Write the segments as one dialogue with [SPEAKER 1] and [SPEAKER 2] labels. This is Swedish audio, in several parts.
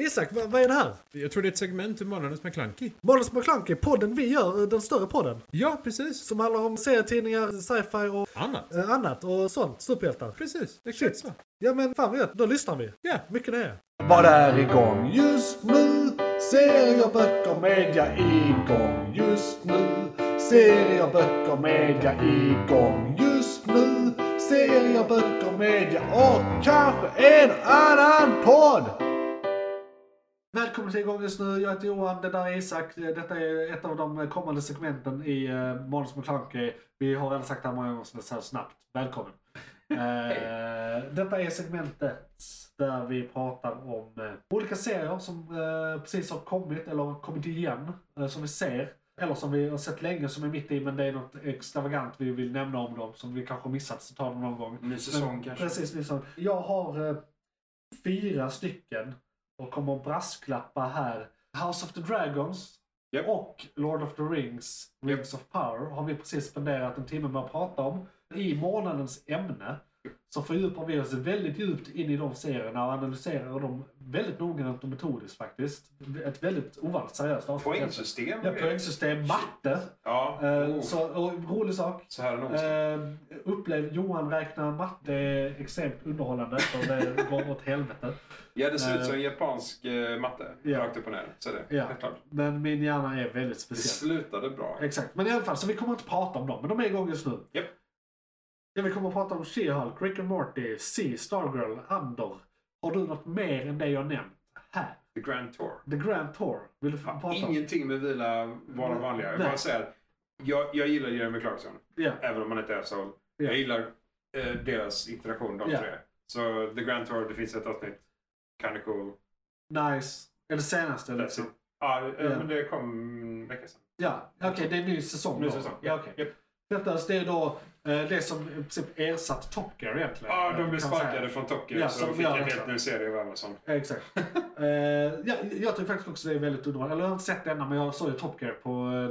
[SPEAKER 1] Isak, vad, vad är det här?
[SPEAKER 2] Jag tror det är ett segment ur Månadens McKlunky.
[SPEAKER 1] Månadens McKlunky, podden vi gör, eh, den större podden.
[SPEAKER 2] Ja, precis.
[SPEAKER 1] Som handlar om serietidningar, sci-fi och
[SPEAKER 2] Annat.
[SPEAKER 1] eh, annat och sånt. Superhjältar.
[SPEAKER 2] Precis, exakt så.
[SPEAKER 1] Ja men fan vad gött, då lyssnar vi.
[SPEAKER 2] Ja.
[SPEAKER 1] Mycket det är.
[SPEAKER 3] Vad är igång just nu? Serier, böcker, media igång just nu. Serier, böcker, media igång just nu. Serier, böcker, media och kanske en annan podd! Välkommen till igång just nu. Jag heter Johan, det där är Isak. Detta är ett av de kommande segmenten i eh, Måns McClunky. Vi har redan sagt det här många gånger så det säger snabbt. Välkommen. Eh, detta är segmentet där vi pratar om eh, olika serier som eh, precis har kommit eller har kommit igen eh, som vi ser. Eller som vi har sett länge som är mitt i men det är något extravagant vi vill nämna om dem som vi kanske har missat så tar dem någon gång.
[SPEAKER 4] Ny säsong
[SPEAKER 3] Men-
[SPEAKER 4] kanske.
[SPEAKER 3] Precis, ny säsong. Jag har eh, fyra stycken och kommer att brasklappa här. House of the Dragons
[SPEAKER 4] Japp.
[SPEAKER 3] och Lord of the Rings, Rings of Power har vi precis spenderat en timme med att prata om. I månadens ämne så fördjupar vi oss väldigt djupt in i de serierna och analyserar dem väldigt noggrant och metodiskt faktiskt. Ett väldigt ovanligt seriöst avsnitt.
[SPEAKER 4] Poängsystem?
[SPEAKER 3] Ja, poängsystem, matte.
[SPEAKER 4] Ja.
[SPEAKER 3] Eh,
[SPEAKER 4] oh,
[SPEAKER 3] Så, och rolig sak.
[SPEAKER 4] så här är det någonstans.
[SPEAKER 3] Eh, upplev Johan räknar matte är extremt underhållande för det går åt helvete.
[SPEAKER 4] Ja, det ser ut
[SPEAKER 3] eh,
[SPEAKER 4] som en japansk eh, matte.
[SPEAKER 3] ja.
[SPEAKER 4] Rakt upp och ner. Så är det.
[SPEAKER 3] Ja.
[SPEAKER 4] Helt klart.
[SPEAKER 3] Men min hjärna är väldigt
[SPEAKER 4] Det
[SPEAKER 3] speciell.
[SPEAKER 4] slutade bra.
[SPEAKER 3] Exakt, men i alla fall så vi kommer inte prata om dem, men de är igång just nu.
[SPEAKER 4] Japp.
[SPEAKER 3] Ja, vi kommer att prata om She-Hulk, Rick and Morty, C, Stargirl, Andor. Har du något mer än det jag nämnt? Här.
[SPEAKER 4] The Grand Tour.
[SPEAKER 3] The Grand Tour. Vill du prata om?
[SPEAKER 4] Ingenting med vila vara
[SPEAKER 3] Nej.
[SPEAKER 4] vanliga. Jag
[SPEAKER 3] Nej.
[SPEAKER 4] bara säger att jag, jag gillar Jeremy Clarkson.
[SPEAKER 3] Ja.
[SPEAKER 4] Även om han inte är så.
[SPEAKER 3] Ja.
[SPEAKER 4] Jag gillar eh, deras interaktion, de
[SPEAKER 3] Ja.
[SPEAKER 4] tre. Så The Grand Tour, det finns ett avsnitt. Kinda cool.
[SPEAKER 3] Nice. Eller senaste
[SPEAKER 4] That's
[SPEAKER 3] liksom.
[SPEAKER 4] it. Ja, eh,
[SPEAKER 3] Ja.
[SPEAKER 4] men det kom en vecka sedan.
[SPEAKER 3] Ja, okej det är en ny säsong
[SPEAKER 4] Nu
[SPEAKER 3] då.
[SPEAKER 4] säsong.
[SPEAKER 3] Ja, okej.
[SPEAKER 4] Japp.
[SPEAKER 3] Detta det är då eh, det som i princip ersatt Top Gear egentligen.
[SPEAKER 4] Ja, de blev
[SPEAKER 3] Kan man säga.
[SPEAKER 4] sparkade från Tokyo
[SPEAKER 3] Ja,
[SPEAKER 4] så de
[SPEAKER 3] som-
[SPEAKER 4] fick
[SPEAKER 3] ja,
[SPEAKER 4] en helt
[SPEAKER 3] exakt.
[SPEAKER 4] ny serie av Amazon.
[SPEAKER 3] Ja, Exakt. Eh, ja, jag tycker faktiskt också det är väldigt underhållande. Eller jag har inte sett det ännu, men jag såg ju Top Gear på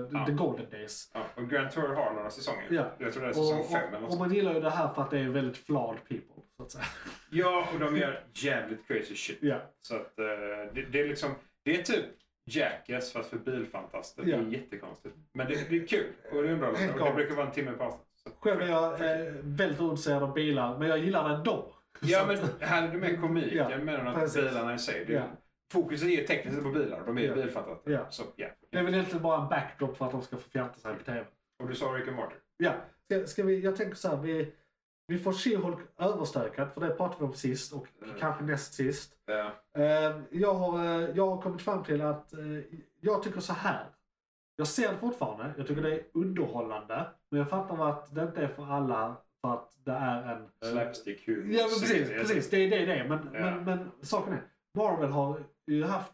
[SPEAKER 3] eh,
[SPEAKER 4] Ja.
[SPEAKER 3] The Golden Days.
[SPEAKER 4] Ja, och Grand Tour har några säsonger.
[SPEAKER 3] Ja.
[SPEAKER 4] Jag tror det är säsong
[SPEAKER 3] Och,
[SPEAKER 4] fem eller
[SPEAKER 3] och,
[SPEAKER 4] något
[SPEAKER 3] och
[SPEAKER 4] sånt.
[SPEAKER 3] man gillar ju det här för att det är väldigt flawed people. Så att säga.
[SPEAKER 4] Ja, och de gör jävligt crazy shit.
[SPEAKER 3] Ja.
[SPEAKER 4] Så att eh, det, det är liksom... Det är typ Jackass fast för bilfantaster.
[SPEAKER 3] Ja.
[SPEAKER 4] Det är jättekonstigt. Men det, det är kul och det är
[SPEAKER 3] Helt
[SPEAKER 4] underhållande. Och det
[SPEAKER 3] galet.
[SPEAKER 4] brukar vara en timme per avsnitt. Så-
[SPEAKER 3] Själv är jag eh, väldigt ointresserad av bilar, men jag gillar det ändå.
[SPEAKER 4] Ja,
[SPEAKER 3] Så
[SPEAKER 4] men
[SPEAKER 3] att-
[SPEAKER 4] här är det mer komiken
[SPEAKER 3] Ja,
[SPEAKER 4] mer än att
[SPEAKER 3] precis.
[SPEAKER 4] bilarna i sig. Det,
[SPEAKER 3] Ja.
[SPEAKER 4] Fokuset är ju tekniskt sett på bilar. De är ju
[SPEAKER 3] Ja.
[SPEAKER 4] bilfantaster.
[SPEAKER 3] Ja.
[SPEAKER 4] Så, ja.
[SPEAKER 3] Det är väl egentligen bara en backdrop för att de ska få fjanta sig på TV.
[SPEAKER 4] Och du sa Rick and Morty.
[SPEAKER 3] Ja, ska, ska vi, jag tänker så här, vi, vi får She-Hulk överstökad, för det pratade vi om sist och
[SPEAKER 4] Mm.
[SPEAKER 3] kanske näst sist.
[SPEAKER 4] Ja.
[SPEAKER 3] Eh, jag, har, eh, jag har kommit fram till att eh, jag tycker så här. Jag ser det fortfarande, jag tycker det är underhållande. Men jag fattar att det inte är för alla för att det är en... eh,
[SPEAKER 4] Slapstick humor.
[SPEAKER 3] Ja men precis, precis. Det är det det är. Men,
[SPEAKER 4] Ja.
[SPEAKER 3] men, men saken är, Marvel har ju haft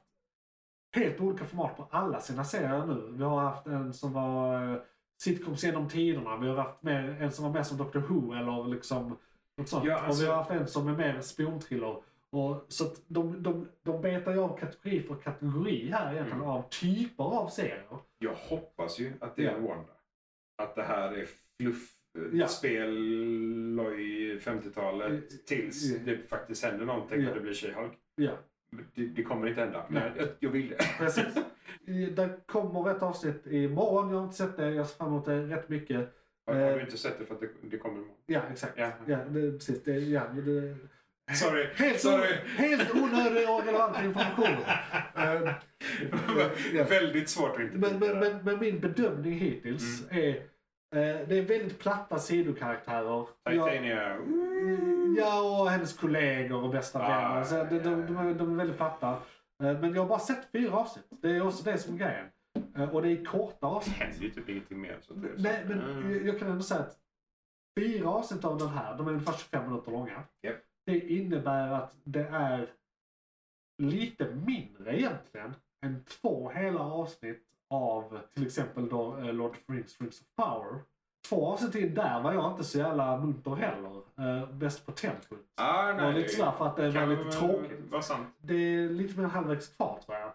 [SPEAKER 3] helt olika format på alla sina serier nu. Vi har haft en som var eh, sitcoms genom tiderna. Vi har haft mer, en som var mer som Doctor Who eller liksom något sånt.
[SPEAKER 4] Ja, alltså-
[SPEAKER 3] Och vi har haft en som är mer spionthriller. Och, så att de, de, de betar ju av kategori för kategori här egentligen
[SPEAKER 4] Mm.
[SPEAKER 3] av typer av serier.
[SPEAKER 4] Jag hoppas ju att det
[SPEAKER 3] Ja.
[SPEAKER 4] är en Wanda. Att det här är fluff, eh,
[SPEAKER 3] Ja.
[SPEAKER 4] spel, loj, 50-talet tills
[SPEAKER 3] Ja.
[SPEAKER 4] det faktiskt händer någonting
[SPEAKER 3] eh, Ja.
[SPEAKER 4] och det blir She-Hulk.
[SPEAKER 3] Ja,
[SPEAKER 4] Det, det kommer inte hända, men
[SPEAKER 3] Nej.
[SPEAKER 4] jag, jag vill det.
[SPEAKER 3] precis. I- det kommer ett avsnitt imorgon. Jag har inte sett det. Jag ser fram emot det rätt mycket.
[SPEAKER 4] Har, har
[SPEAKER 3] Eh.
[SPEAKER 4] du inte sett det för att det, det kommer imorgon?
[SPEAKER 3] Ja, exakt.
[SPEAKER 4] Ja.
[SPEAKER 3] Ja, det, precis. Det, ja, det,
[SPEAKER 4] Sorry,
[SPEAKER 3] helt,
[SPEAKER 4] sorry.
[SPEAKER 3] helt onödig och relevant information. Eh, ja.
[SPEAKER 4] Väldigt svårt att inte
[SPEAKER 3] men, men,
[SPEAKER 4] tycka det.
[SPEAKER 3] men, men min bedömning hittills
[SPEAKER 4] Mm.
[SPEAKER 3] är... eh, det är väldigt platta sidokaraktärer. Jag,
[SPEAKER 4] Titania, mm,
[SPEAKER 3] ja, och hennes kollegor och bästa
[SPEAKER 4] Ah,
[SPEAKER 3] vänner. Så de, de,
[SPEAKER 4] ja,
[SPEAKER 3] de, är, de är väldigt platta. Eh, men jag har bara sett fyra avsnitt. Det är också det som är grejen. Eh, och det är korta
[SPEAKER 4] det
[SPEAKER 3] avsnitt.
[SPEAKER 4] händer ju typ ingenting mer. Så det är så.
[SPEAKER 3] Nej, men
[SPEAKER 4] Mm.
[SPEAKER 3] jag- jag kan ändå säga att fyra avsnitt av den här, de är ungefär 25 minuter långa.
[SPEAKER 4] Japp.
[SPEAKER 3] Det innebär att det är lite mindre egentligen än två hela avsnitt av till exempel då eh, Lord of the Rings, Rings of Power. Två avsnitt in där var jag inte så jävla munter heller. Eh, bäst på tempot.
[SPEAKER 4] Ah,
[SPEAKER 3] Det var
[SPEAKER 4] nej,
[SPEAKER 3] lite sådär för att det var
[SPEAKER 4] kan
[SPEAKER 3] lite
[SPEAKER 4] väl
[SPEAKER 3] tråkigt.
[SPEAKER 4] vara sant.
[SPEAKER 3] Det är lite mer än halvvägs kvar tror jag.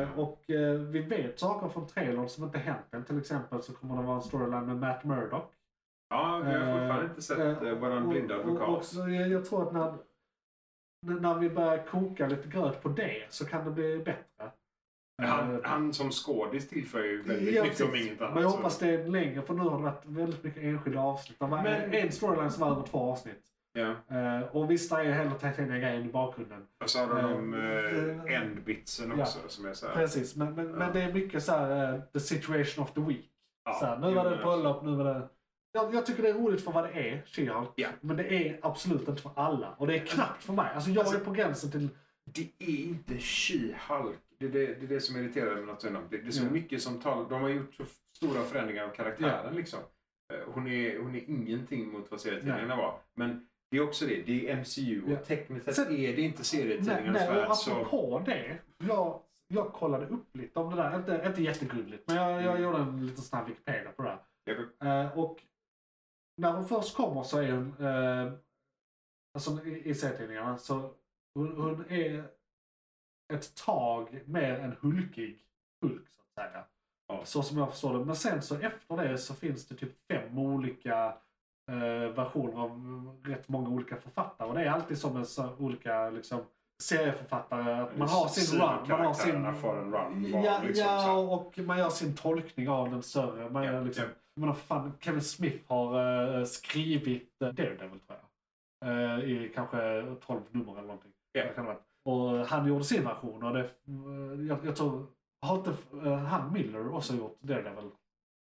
[SPEAKER 3] Eh, och eh, vi vet saker från trailern som inte hänt än. Till exempel så kommer det vara en storyline med Matt Murdock.
[SPEAKER 4] Ja, vi har fortfarande inte sett
[SPEAKER 3] Eh,
[SPEAKER 4] eh, våran blinda
[SPEAKER 3] och- och-
[SPEAKER 4] advokat.
[SPEAKER 3] och så jag, jag tror att när n- när vi börjar koka lite gröt på det så kan det bli bättre.
[SPEAKER 4] Han, han som skådis tillför ju väldigt
[SPEAKER 3] Ja,
[SPEAKER 4] mycket om
[SPEAKER 3] precis.
[SPEAKER 4] inget
[SPEAKER 3] Men jag
[SPEAKER 4] annat.
[SPEAKER 3] hoppas det är längre för nu har det varit väldigt mycket enskilda avsnitt. Det var
[SPEAKER 4] Men-
[SPEAKER 3] en, en storyline som var över två avsnitt.
[SPEAKER 4] Ja.
[SPEAKER 3] Eh, och visst, det är ju hela Titania grejen i bakgrunden.
[SPEAKER 4] Och så har de de
[SPEAKER 3] Eh,
[SPEAKER 4] eh, endbitsen
[SPEAKER 3] ja.
[SPEAKER 4] också som är så här.
[SPEAKER 3] Precis, men, men, men det är mycket så här eh, the situation of the week.
[SPEAKER 4] Ja,
[SPEAKER 3] så här, nu
[SPEAKER 4] jo,
[SPEAKER 3] var
[SPEAKER 4] men
[SPEAKER 3] det
[SPEAKER 4] alltså.
[SPEAKER 3] bröllop, nu var det... Jag, jag tycker det är roligt för vad det är, She-Hulk.
[SPEAKER 4] Ja.
[SPEAKER 3] Men det är absolut inte för alla. Och det är knappt för mig. Alltså jag
[SPEAKER 4] Alltså-
[SPEAKER 3] är på gränsen till...
[SPEAKER 4] Det är inte She-Hulk. Det är det, det, är det som irriterar mig något sådant. Det, det är så
[SPEAKER 3] Ja.
[SPEAKER 4] mycket som talar. De har gjort så f- stora förändringar av karaktären liksom. Eh, Hon är, hon är ingenting mot vad serietidningarna var. Men det är också det. Det är MCU och
[SPEAKER 3] Ja.
[SPEAKER 4] tekniskt sett
[SPEAKER 3] Sen-
[SPEAKER 4] är det inte
[SPEAKER 3] Nej,
[SPEAKER 4] serietidningarnas
[SPEAKER 3] nej, och
[SPEAKER 4] värld. Så...
[SPEAKER 3] apropå det. Jag, jag kollade upp lite om det där. Inte, inte jättegrundligt, men jag, jag
[SPEAKER 4] Mm.
[SPEAKER 3] gjorde en liten snabb Wikipedia på det där.
[SPEAKER 4] Jag-
[SPEAKER 3] Eh, och när hon först kommer så är hon, eh, alltså i, i serietidningarna, så hon, hon är ett tag mer en hulkig Hulk så att säga.
[SPEAKER 4] Ja.
[SPEAKER 3] Så som jag förstår det. Men sen så efter det så finns det typ fem olika eh, versioner av rätt många olika författare. Och det är alltid som en så, olika liksom, serieförfattare. Att man har sin run. Man har
[SPEAKER 4] Sidokaraktärerna
[SPEAKER 3] sin...
[SPEAKER 4] får en run. var
[SPEAKER 3] Ja,
[SPEAKER 4] liksom så
[SPEAKER 3] ja
[SPEAKER 4] här.
[SPEAKER 3] och man gör sin tolkning av den större. Man
[SPEAKER 4] Ja,
[SPEAKER 3] gör liksom,
[SPEAKER 4] ja.
[SPEAKER 3] jag menar, fan, Kevin Smith har eh, skrivit uh, Daredevil tror jag. Eh, I kanske 12 nummer eller någonting.
[SPEAKER 4] Ja.
[SPEAKER 3] Det kan det vara. Och eh, han gjorde sin version. Och det, eh, jag, jag tror, har inte eh, han Miller också gjort Daredevil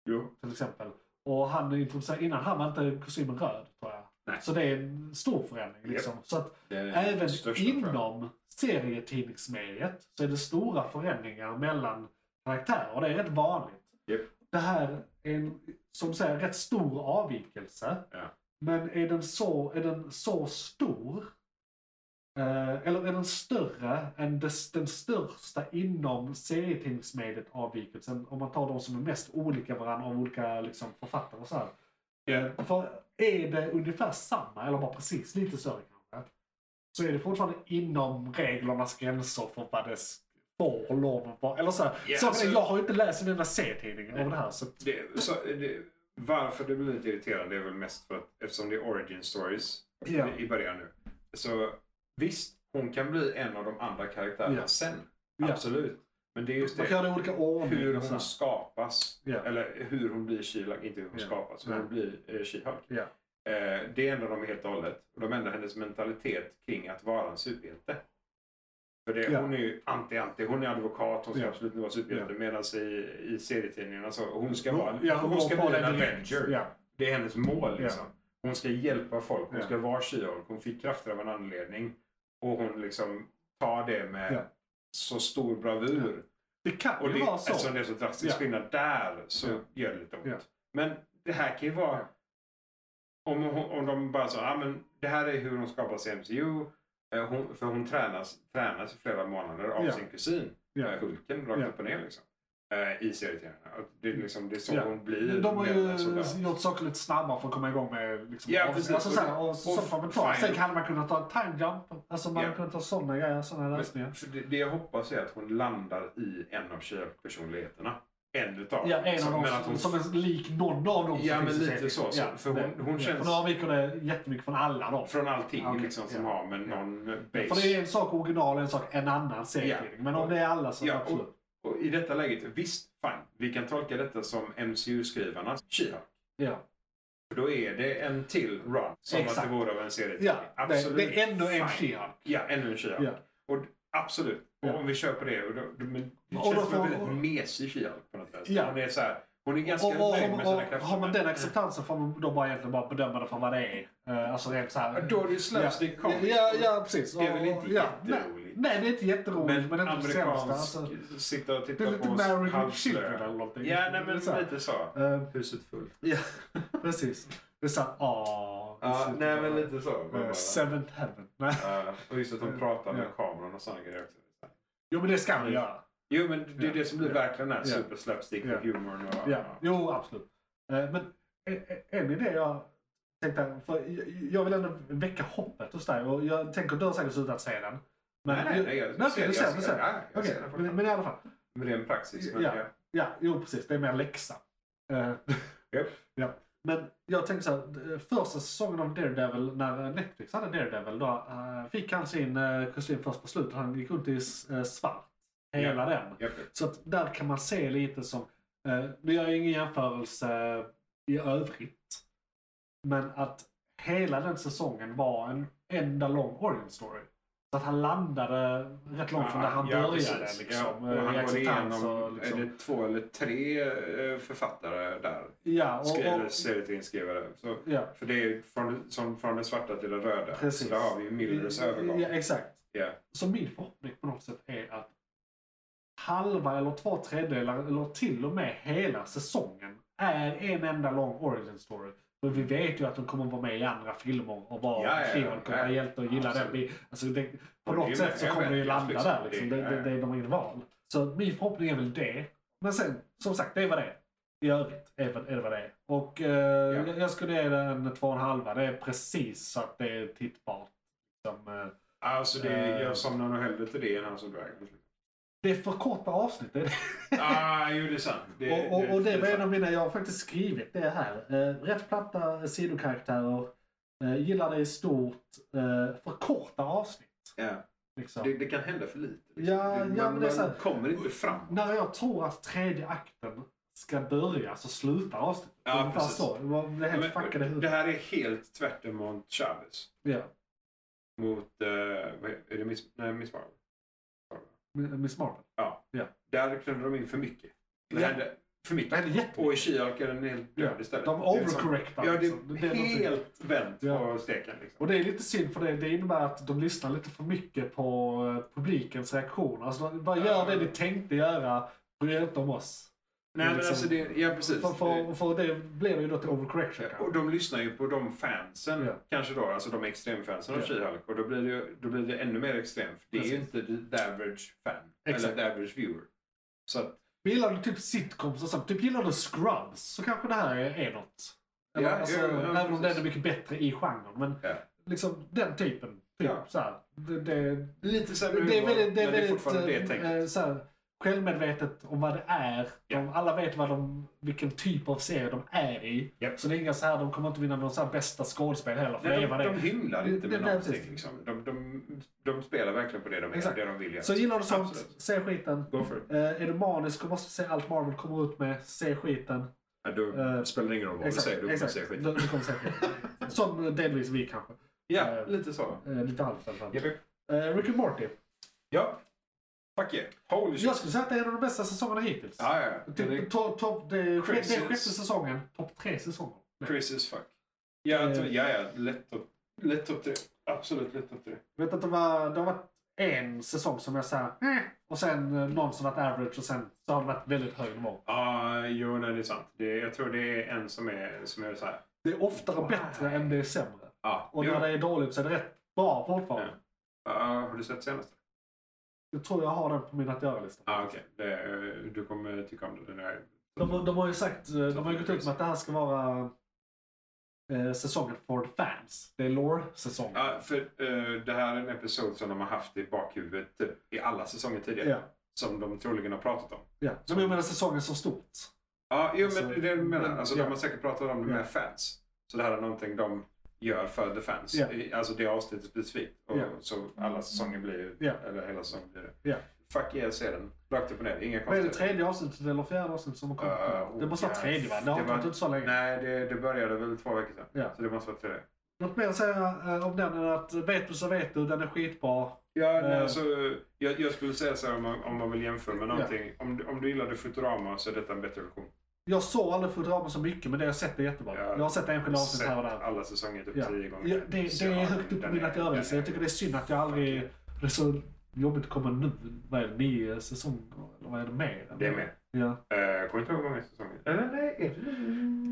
[SPEAKER 4] Jo.
[SPEAKER 3] till exempel? Och han introducerade, innan han var inte kostymen röd tror jag.
[SPEAKER 4] Nej.
[SPEAKER 3] Så det är en stor förändring. Liksom. Så att
[SPEAKER 4] Det är den
[SPEAKER 3] Även
[SPEAKER 4] största, tror jag.
[SPEAKER 3] inom serietidningsmediet så är det stora förändringar mellan karaktärer och det är rätt vanligt.
[SPEAKER 4] Japp.
[SPEAKER 3] Det här är en, som du säger, rätt stor avvikelse.
[SPEAKER 4] Ja.
[SPEAKER 3] Men är den så, är den så stor? eh, Eller är den större än des- den största inom serietidningsmediet avvikelsen? Om man tar de som är mest olika varandra av olika liksom, författare och så här. Eh,
[SPEAKER 4] Ja.
[SPEAKER 3] För är det ungefär samma, eller bara precis lite större kanske, så är det fortfarande inom reglernas gränser för vad det s- får och lov att vara. Eller så här,
[SPEAKER 4] Ja,
[SPEAKER 3] saken är,
[SPEAKER 4] alltså-
[SPEAKER 3] jag har ju inte läst en enda serietidning om det här. Så,
[SPEAKER 4] Det, så, det, varför det blir lite irriterande är väl mest för att eftersom det är origin stories
[SPEAKER 3] Ja.
[SPEAKER 4] i början nu. Så visst, hon kan bli en av de andra karaktärerna
[SPEAKER 3] Ja.
[SPEAKER 4] sen.
[SPEAKER 3] Ja.
[SPEAKER 4] Absolut. Men det är just
[SPEAKER 3] man kan
[SPEAKER 4] det.
[SPEAKER 3] göra det i olika
[SPEAKER 4] Hur
[SPEAKER 3] ordning. och så
[SPEAKER 4] hon
[SPEAKER 3] här.
[SPEAKER 4] skapas.
[SPEAKER 3] Ja.
[SPEAKER 4] Eller hur hon blir She-Hulk, inte hur hon
[SPEAKER 3] Ja.
[SPEAKER 4] skapas. Hur
[SPEAKER 3] Nej.
[SPEAKER 4] hon blir eh, She-Hulk.
[SPEAKER 3] Ja.
[SPEAKER 4] Eh, det ändrar de helt och hållet. Och de ändrar hennes mentalitet kring att vara en superhjälte. För det,
[SPEAKER 3] Ja.
[SPEAKER 4] hon är ju anti-anti. Hon är advokat, hon ska
[SPEAKER 3] Ja.
[SPEAKER 4] absolut inte vara superhjälte. Medan i, i serietidningarna så, hon ska vara
[SPEAKER 3] Ja,
[SPEAKER 4] hon
[SPEAKER 3] går
[SPEAKER 4] ska
[SPEAKER 3] på
[SPEAKER 4] bli en
[SPEAKER 3] det direkt.
[SPEAKER 4] avenger.
[SPEAKER 3] Ja.
[SPEAKER 4] Det är hennes mål
[SPEAKER 3] Ja.
[SPEAKER 4] liksom. Hon ska hjälpa folk, hon
[SPEAKER 3] Ja.
[SPEAKER 4] ska vara She-Hulk. Hon fick krafter av en anledning. Och hon liksom tar det med
[SPEAKER 3] Ja.
[SPEAKER 4] så stor bravur.
[SPEAKER 3] Det kan
[SPEAKER 4] Och
[SPEAKER 3] ju
[SPEAKER 4] det, alltså-
[SPEAKER 3] vara så.
[SPEAKER 4] eftersom det är så drastisk
[SPEAKER 3] Ja.
[SPEAKER 4] skillnad där så
[SPEAKER 3] Ja.
[SPEAKER 4] gör det lite ont.
[SPEAKER 3] Ja.
[SPEAKER 4] Men det här kan ju vara...
[SPEAKER 3] Ja.
[SPEAKER 4] Om, hon- om de bara sa ah, men det här är hur hon skapar sig i MCU. eh, Hon, för hon tränas, tränas i flera månader av
[SPEAKER 3] Ja.
[SPEAKER 4] sin kusin.
[SPEAKER 3] Ja.
[SPEAKER 4] eh, Hulken rakt
[SPEAKER 3] Ja.
[SPEAKER 4] upp och ner liksom. eh, I serietidningarna. Och Det, är liksom, det är så
[SPEAKER 3] Ja.
[SPEAKER 4] hon blir.
[SPEAKER 3] De har ju
[SPEAKER 4] mellan soldater.
[SPEAKER 3] gjort saker lite snabbare för att komma igång med liksom,
[SPEAKER 4] Ja,
[SPEAKER 3] av-
[SPEAKER 4] precis.
[SPEAKER 3] alltså, så här, och, så,
[SPEAKER 4] Och-
[SPEAKER 3] så får man ta.
[SPEAKER 4] fine.
[SPEAKER 3] Sen hade man kunnat ta en time jump. Alltså man
[SPEAKER 4] Ja.
[SPEAKER 3] kunde ta sådana grejer, sådana lösningar.
[SPEAKER 4] men, för det, det jag hoppas är att hon landar i en av She-Hulk-personligheterna. En utav
[SPEAKER 3] Ja,
[SPEAKER 4] dem,
[SPEAKER 3] en
[SPEAKER 4] liksom.
[SPEAKER 3] av dem
[SPEAKER 4] Men att
[SPEAKER 3] som,
[SPEAKER 4] hon
[SPEAKER 3] som är lik någon av dem
[SPEAKER 4] Ja,
[SPEAKER 3] som
[SPEAKER 4] men
[SPEAKER 3] finns i serien.
[SPEAKER 4] lite så. Så- för hon-
[SPEAKER 3] det-
[SPEAKER 4] hon
[SPEAKER 3] ja,
[SPEAKER 4] känns-
[SPEAKER 3] För nu avviker det jättemycket från alla dem.
[SPEAKER 4] Från allting
[SPEAKER 3] Ja, okej.
[SPEAKER 4] liksom, som
[SPEAKER 3] Ja.
[SPEAKER 4] har med
[SPEAKER 3] Ja.
[SPEAKER 4] någon base.
[SPEAKER 3] För det är en sak original och en sak en annan serietidning. Men om det är alla så
[SPEAKER 4] Ja,
[SPEAKER 3] absolut.
[SPEAKER 4] och, och i detta läget, visst, fine. Vi kan tolka detta som MCU-skrivarnas She-Hulk.
[SPEAKER 3] Ja.
[SPEAKER 4] För då är det en till run som att
[SPEAKER 3] Exakt.
[SPEAKER 4] det vore av en serie.
[SPEAKER 3] Ja, det,
[SPEAKER 4] absolut.
[SPEAKER 3] det är ändå en
[SPEAKER 4] fine.
[SPEAKER 3] She-Hulk.
[SPEAKER 4] Ja, ännu en She-Hulk.
[SPEAKER 3] Ja.
[SPEAKER 4] Och Absolut.
[SPEAKER 3] Ja.
[SPEAKER 4] Och om vi köper det. Och då, då, men, det
[SPEAKER 3] Och
[SPEAKER 4] känns
[SPEAKER 3] då
[SPEAKER 4] som en
[SPEAKER 3] får-
[SPEAKER 4] väldigt mesig She-Hulk på något sätt.
[SPEAKER 3] Ja.
[SPEAKER 4] Hon är så här, hon är ganska
[SPEAKER 3] Och, och,
[SPEAKER 4] nöjd med
[SPEAKER 3] och,
[SPEAKER 4] sina
[SPEAKER 3] och
[SPEAKER 4] krafter. Mm.
[SPEAKER 3] har man den
[SPEAKER 4] men-
[SPEAKER 3] acceptansen får man då bara egentligen bara bedöma det för vad det är. Eh, Alltså rent så
[SPEAKER 4] Ja,
[SPEAKER 3] här.
[SPEAKER 4] Då är det ju slapstick
[SPEAKER 3] ja,
[SPEAKER 4] comedy.
[SPEAKER 3] ja, ja, precis.
[SPEAKER 4] Det är väl
[SPEAKER 3] Och-
[SPEAKER 4] inte
[SPEAKER 3] ja, Nej,
[SPEAKER 4] jätteroligt.
[SPEAKER 3] nej, det är inte jätteroligt.
[SPEAKER 4] Men,
[SPEAKER 3] Men, det är inte det sämsta.
[SPEAKER 4] amerikansk,
[SPEAKER 3] Alltså,
[SPEAKER 4] sitta och titta
[SPEAKER 3] det är lite
[SPEAKER 4] på
[SPEAKER 3] Married with
[SPEAKER 4] halvslö.
[SPEAKER 3] Children eller någonting.
[SPEAKER 4] Ja, nej, men
[SPEAKER 3] Det är så här.
[SPEAKER 4] lite så.
[SPEAKER 3] Eh,
[SPEAKER 4] Huset fullt.
[SPEAKER 3] Ja, precis. Det är "Ah, såhär, åh.
[SPEAKER 4] Ja, nej men lite så. Man
[SPEAKER 3] Eh,
[SPEAKER 4] bara-
[SPEAKER 3] Seventh heaven. Nej.
[SPEAKER 4] Ja, och just att de pratar med
[SPEAKER 3] Ja.
[SPEAKER 4] kameran och sådana grejer också.
[SPEAKER 3] Jo men det ska man göra.
[SPEAKER 4] Jo men det är
[SPEAKER 3] Ja.
[SPEAKER 4] det som blir
[SPEAKER 3] Ja.
[SPEAKER 4] verkligen den här
[SPEAKER 3] Ja.
[SPEAKER 4] super slapstick
[SPEAKER 3] Ja.
[SPEAKER 4] och humorn och...
[SPEAKER 3] Ja. Jo, absolut. Eh, Men en- en idé jag tänkte, här, för jag- jag vill ändå väcka hoppet hos dig och jag tänker du har säkert slutat se den. Men,
[SPEAKER 4] Nej, nej, nej. Jag,
[SPEAKER 3] Nej,
[SPEAKER 4] ser-
[SPEAKER 3] okej, du ser, du ser.
[SPEAKER 4] Ja, jag
[SPEAKER 3] Okej,
[SPEAKER 4] ser den
[SPEAKER 3] men,
[SPEAKER 4] fortfarande.
[SPEAKER 3] men i alla fall.
[SPEAKER 4] Men det är en praxis. Men, ja.
[SPEAKER 3] Ja, jo precis. Det är mer läxa. Eh,
[SPEAKER 4] Japp.
[SPEAKER 3] ja. Men jag tänker så här, eh, första säsongen av Daredevil, när eh, Netflix hade Daredevil, då eh, fick han sin eh, kostym först på slutet. Han gick runt i s- eh, svart. Hela den.
[SPEAKER 4] Japp.
[SPEAKER 3] Så att där kan man se lite som, eh, nu gör jag ingen jämförelse i övrigt, men att hela den säsongen var en enda lång origin story. Så att han landade rätt långt från där han
[SPEAKER 4] Ja,
[SPEAKER 3] började.
[SPEAKER 4] precis.
[SPEAKER 3] Liksom,
[SPEAKER 4] Ja, och
[SPEAKER 3] eh,
[SPEAKER 4] han
[SPEAKER 3] i
[SPEAKER 4] går
[SPEAKER 3] acceptans och
[SPEAKER 4] igenom
[SPEAKER 3] liksom.
[SPEAKER 4] är det två eller tre eh, författare där.
[SPEAKER 3] Ja, och,
[SPEAKER 4] Skri- eller
[SPEAKER 3] och,
[SPEAKER 4] serietidningsskrivare. Så,
[SPEAKER 3] ja,
[SPEAKER 4] för det är ju från, som, från den svarta till den röda.
[SPEAKER 3] Precis.
[SPEAKER 4] Så där har vi ju Millers övergång.
[SPEAKER 3] Ja, exakt.
[SPEAKER 4] Ja.
[SPEAKER 3] Så min förhoppning på något sätt är att halva eller två tredjedelar eller till och med hela säsongen är en enda lång origin story. För vi vet ju att de kommer vara med i andra filmer och vara
[SPEAKER 4] Ja, ja, ja.
[SPEAKER 3] krigar och kommer vara
[SPEAKER 4] Ja,
[SPEAKER 3] hjältar och gilla den
[SPEAKER 4] absolut.
[SPEAKER 3] biten. Alltså det, på
[SPEAKER 4] Och det är ju
[SPEAKER 3] något sätt
[SPEAKER 4] med-
[SPEAKER 3] så
[SPEAKER 4] jag
[SPEAKER 3] kommer
[SPEAKER 4] vet,
[SPEAKER 3] det ju
[SPEAKER 4] jag
[SPEAKER 3] landa
[SPEAKER 4] liksom-
[SPEAKER 3] där. Liksom. Det,
[SPEAKER 4] det-
[SPEAKER 3] det, det, de har inget val. Så min förhoppning är väl det. Men sen, som sagt, det är vad det är. I övrigt är vad- är det vad det är. Och eh, jag, jag skulle ge den två och en halva. Det är precis så att det är tittbart. Liksom, eh,
[SPEAKER 4] Alltså det,
[SPEAKER 3] Eh.
[SPEAKER 4] jag somnar nog hellre till det än House of Dragons.
[SPEAKER 3] det är för korta avsnitt. det är det.
[SPEAKER 4] ah, jo det är sant. Det,
[SPEAKER 3] och, och, och det var en
[SPEAKER 4] sant.
[SPEAKER 3] av mina, jag har faktiskt skrivit det här. Eh, rätt platta sidokaraktärer, eh, gillar det i stort, eh, för korta avsnitt.
[SPEAKER 4] Ja.
[SPEAKER 3] Liksom.
[SPEAKER 4] Det, det kan hända för lite. liksom.
[SPEAKER 3] Ja,
[SPEAKER 4] man,
[SPEAKER 3] ja, men det är så
[SPEAKER 4] man
[SPEAKER 3] här-
[SPEAKER 4] kommer inte fram.
[SPEAKER 3] När jag tror att tredje akten ska börja så slutar avsnittet.
[SPEAKER 4] Ja,
[SPEAKER 3] Ungefär
[SPEAKER 4] precis.
[SPEAKER 3] så. Det var- det blev helt fuckade
[SPEAKER 4] Men, det
[SPEAKER 3] huvudet.
[SPEAKER 4] här är helt tvärt emot Chavez.
[SPEAKER 3] Ja.
[SPEAKER 4] Mot, eh, vad är är det Miss, nej, Miss Marvel?
[SPEAKER 3] Miss Marvel.
[SPEAKER 4] Där klämde de in för mycket. Det
[SPEAKER 3] Ja.
[SPEAKER 4] hände för
[SPEAKER 3] Det
[SPEAKER 4] mycket.
[SPEAKER 3] hände jättemycket.
[SPEAKER 4] Och i She-Hulk är den helt död
[SPEAKER 3] Ja,
[SPEAKER 4] istället.
[SPEAKER 3] de
[SPEAKER 4] Det är liksom-
[SPEAKER 3] overcorrectar,
[SPEAKER 4] Ja,
[SPEAKER 3] liksom.
[SPEAKER 4] det
[SPEAKER 3] Det är
[SPEAKER 4] är
[SPEAKER 3] någonting.
[SPEAKER 4] helt vänt på
[SPEAKER 3] Ja.
[SPEAKER 4] steken. Liksom.
[SPEAKER 3] Och det är lite synd för det, det innebär att de lyssnar lite för mycket på eh, publikens reaktioner. Alltså, bara gör det ni tänkte göra, bry er inte om oss.
[SPEAKER 4] Nej, men
[SPEAKER 3] liksom-
[SPEAKER 4] alltså det, ja precis.
[SPEAKER 3] För, för, för det blev ju då till overcorrection.
[SPEAKER 4] Ja,
[SPEAKER 3] kanske.
[SPEAKER 4] Eh, Och de lyssnar ju på de fansen,
[SPEAKER 3] Ja.
[SPEAKER 4] kanske då, alltså de extremfansen av
[SPEAKER 3] Ja.
[SPEAKER 4] She-Hulk. Och då blir, det, ju- då blir det ännu mer extremt. För det är ju
[SPEAKER 3] Precis.
[SPEAKER 4] inte the average fan.
[SPEAKER 3] Exakt.
[SPEAKER 4] Eller the average viewer. Så att,
[SPEAKER 3] Gillar du typ sitcoms och sånt, typ gillar du Scrubs så kanske det här är, är något. Eller,
[SPEAKER 4] Ja,
[SPEAKER 3] alltså,
[SPEAKER 4] ja, ja,
[SPEAKER 3] även om den
[SPEAKER 4] precis.
[SPEAKER 3] är mycket bättre i genren. Men
[SPEAKER 4] ja.
[SPEAKER 3] liksom den typen. Typ,
[SPEAKER 4] Ja.
[SPEAKER 3] så här, det, det,
[SPEAKER 4] Lite sämre
[SPEAKER 3] det är
[SPEAKER 4] humor,
[SPEAKER 3] väldigt, det är
[SPEAKER 4] men det är
[SPEAKER 3] väldigt
[SPEAKER 4] fortfarande det
[SPEAKER 3] eh, eh,
[SPEAKER 4] tänket.
[SPEAKER 3] så här, självmedvetet om vad det är.
[SPEAKER 4] Ja.
[SPEAKER 3] De, alla vet vad de, vilken typ av serie de är i.
[SPEAKER 4] Japp.
[SPEAKER 3] Så det är inga så här, de kommer inte vinna någon så här bästa skådespel heller. För det
[SPEAKER 4] Nej,
[SPEAKER 3] är vad
[SPEAKER 4] de,
[SPEAKER 3] det är.
[SPEAKER 4] de hymlar
[SPEAKER 3] Det-
[SPEAKER 4] inte med
[SPEAKER 3] det-
[SPEAKER 4] någonting.
[SPEAKER 3] precis.
[SPEAKER 4] Liksom. De, de, de spelar verkligen på det de är,
[SPEAKER 3] Exakt.
[SPEAKER 4] det de vill göra.
[SPEAKER 3] Så gillar du sånt,
[SPEAKER 4] Absolut.
[SPEAKER 3] se skiten.
[SPEAKER 4] Go for it.
[SPEAKER 3] Eh, är du manisk och måste se allt Marvel kommer ut med, se skiten.
[SPEAKER 4] Ja, då
[SPEAKER 3] Eh,
[SPEAKER 4] spelar det ingen roll vad du säger, du kommer säga skit.
[SPEAKER 3] Du, du kommer säga skit. Som eh, delvis vi kanske.
[SPEAKER 4] Ja,
[SPEAKER 3] eh,
[SPEAKER 4] lite så.
[SPEAKER 3] Eh, lite halvt i alla fall.
[SPEAKER 4] Japp, japp.
[SPEAKER 3] Eh, Rick and Morty.
[SPEAKER 4] Ja. Fuck yeah. Holy shit.
[SPEAKER 3] Jag skulle säga att det är en av de bästa säsongerna hittills.
[SPEAKER 4] Ja, ja, ja. Den
[SPEAKER 3] Typ,
[SPEAKER 4] är
[SPEAKER 3] to, to, det, är sjätte-
[SPEAKER 4] Chris
[SPEAKER 3] det är
[SPEAKER 4] is-
[SPEAKER 3] sjätte säsongen, topp tre säsonger.
[SPEAKER 4] crazy as fuck. Ja, jag
[SPEAKER 3] Eh.
[SPEAKER 4] tror- ja, ja. Lätt upp, lätt upp till det. Absolut lätt upp till det.
[SPEAKER 3] Jag vet att det, var, det har varit en säsong som jag såhär, eh, och sen eh, någon som varit average och sen så har det varit väldigt hög nivå.
[SPEAKER 4] Ja, jo, nej, det är sant. Det, jag tror det är en som är, som är så här.
[SPEAKER 3] Det är oftare
[SPEAKER 4] Wow.
[SPEAKER 3] bättre än det är sämre.
[SPEAKER 4] Ja,
[SPEAKER 3] Och
[SPEAKER 4] jo.
[SPEAKER 3] när det är dåligt så är det rätt bra fortfarande.
[SPEAKER 4] Ja. Ja, har du sett senaste?
[SPEAKER 3] Jag tror jag har den på min att göra-lista.
[SPEAKER 4] Ja, Ah, okej. Det- Du kommer tycka om det. Den är...
[SPEAKER 3] De, de har ju sagt, eh, de har ju gått ut med att det här ska vara eh, säsongen for fans. Det är lore-säsongen.
[SPEAKER 4] Ja, för eh, det här är en episod som de har haft i bakhuvudet typ, i alla säsonger tidigare.
[SPEAKER 3] Ja,
[SPEAKER 4] Som de troligen har pratat om.
[SPEAKER 3] ja. Men jag menar säsongen som stort.
[SPEAKER 4] Ja, jo, men
[SPEAKER 3] Så-
[SPEAKER 4] det är det jag menar. Alltså,
[SPEAKER 3] Ja.
[SPEAKER 4] De har säkert pratat om det med fans. Så det här är någonting de gör för the fans.
[SPEAKER 3] Ja.
[SPEAKER 4] I- Alltså det avsnittet specifikt. Och,
[SPEAKER 3] Ja.
[SPEAKER 4] Så alla säsonger blir ju,
[SPEAKER 3] Ja.
[SPEAKER 4] eller hela säsongen blir det.
[SPEAKER 3] Ja.
[SPEAKER 4] Fuck yeah, jag ser den. Rakt upp och ner, inga
[SPEAKER 3] Vad är det
[SPEAKER 4] konstigheter.
[SPEAKER 3] tredje avsnittet eller fjärde avsnittet som har kommit?
[SPEAKER 4] Eh, oh,
[SPEAKER 3] det måste vara
[SPEAKER 4] ja.
[SPEAKER 3] tredje va? Det har
[SPEAKER 4] Det
[SPEAKER 3] inte varit
[SPEAKER 4] var-
[SPEAKER 3] ut så länge.
[SPEAKER 4] Nej, det, det började väl två veckor sedan.
[SPEAKER 3] Ja.
[SPEAKER 4] Så det måste vara tre.
[SPEAKER 3] Något mer att säga eh, om den än att vet du så vet du, den är skitbra.
[SPEAKER 4] Ja, nej,
[SPEAKER 3] Eh.
[SPEAKER 4] alltså, jag, jag skulle säga så här om man, om man vill jämföra med någonting. Om, du- om du gillade Futurama så är detta en bättre version.
[SPEAKER 3] Jag såg aldrig Futurama så mycket men det jag sett är jättebra.
[SPEAKER 4] Ja.
[SPEAKER 3] Jag har sett enskilda avsnitt
[SPEAKER 4] Sett
[SPEAKER 3] här och där.
[SPEAKER 4] alla säsonger typ
[SPEAKER 3] Ja.
[SPEAKER 4] tio gånger.
[SPEAKER 3] Ja, det, det
[SPEAKER 4] Så
[SPEAKER 3] är
[SPEAKER 4] ja,
[SPEAKER 3] högt upp på
[SPEAKER 4] den
[SPEAKER 3] min
[SPEAKER 4] är-
[SPEAKER 3] att göra-lista.
[SPEAKER 4] den
[SPEAKER 3] Jag tycker det är synd att jag aldrig... Det är så jobbigt att komma nu. Vad är det? Nio säsonger? Eller vad är det? Mer?
[SPEAKER 4] Det är med.
[SPEAKER 3] Ja.
[SPEAKER 4] Eh, kommer inte ihåg hur många säsonger. Eller nej, är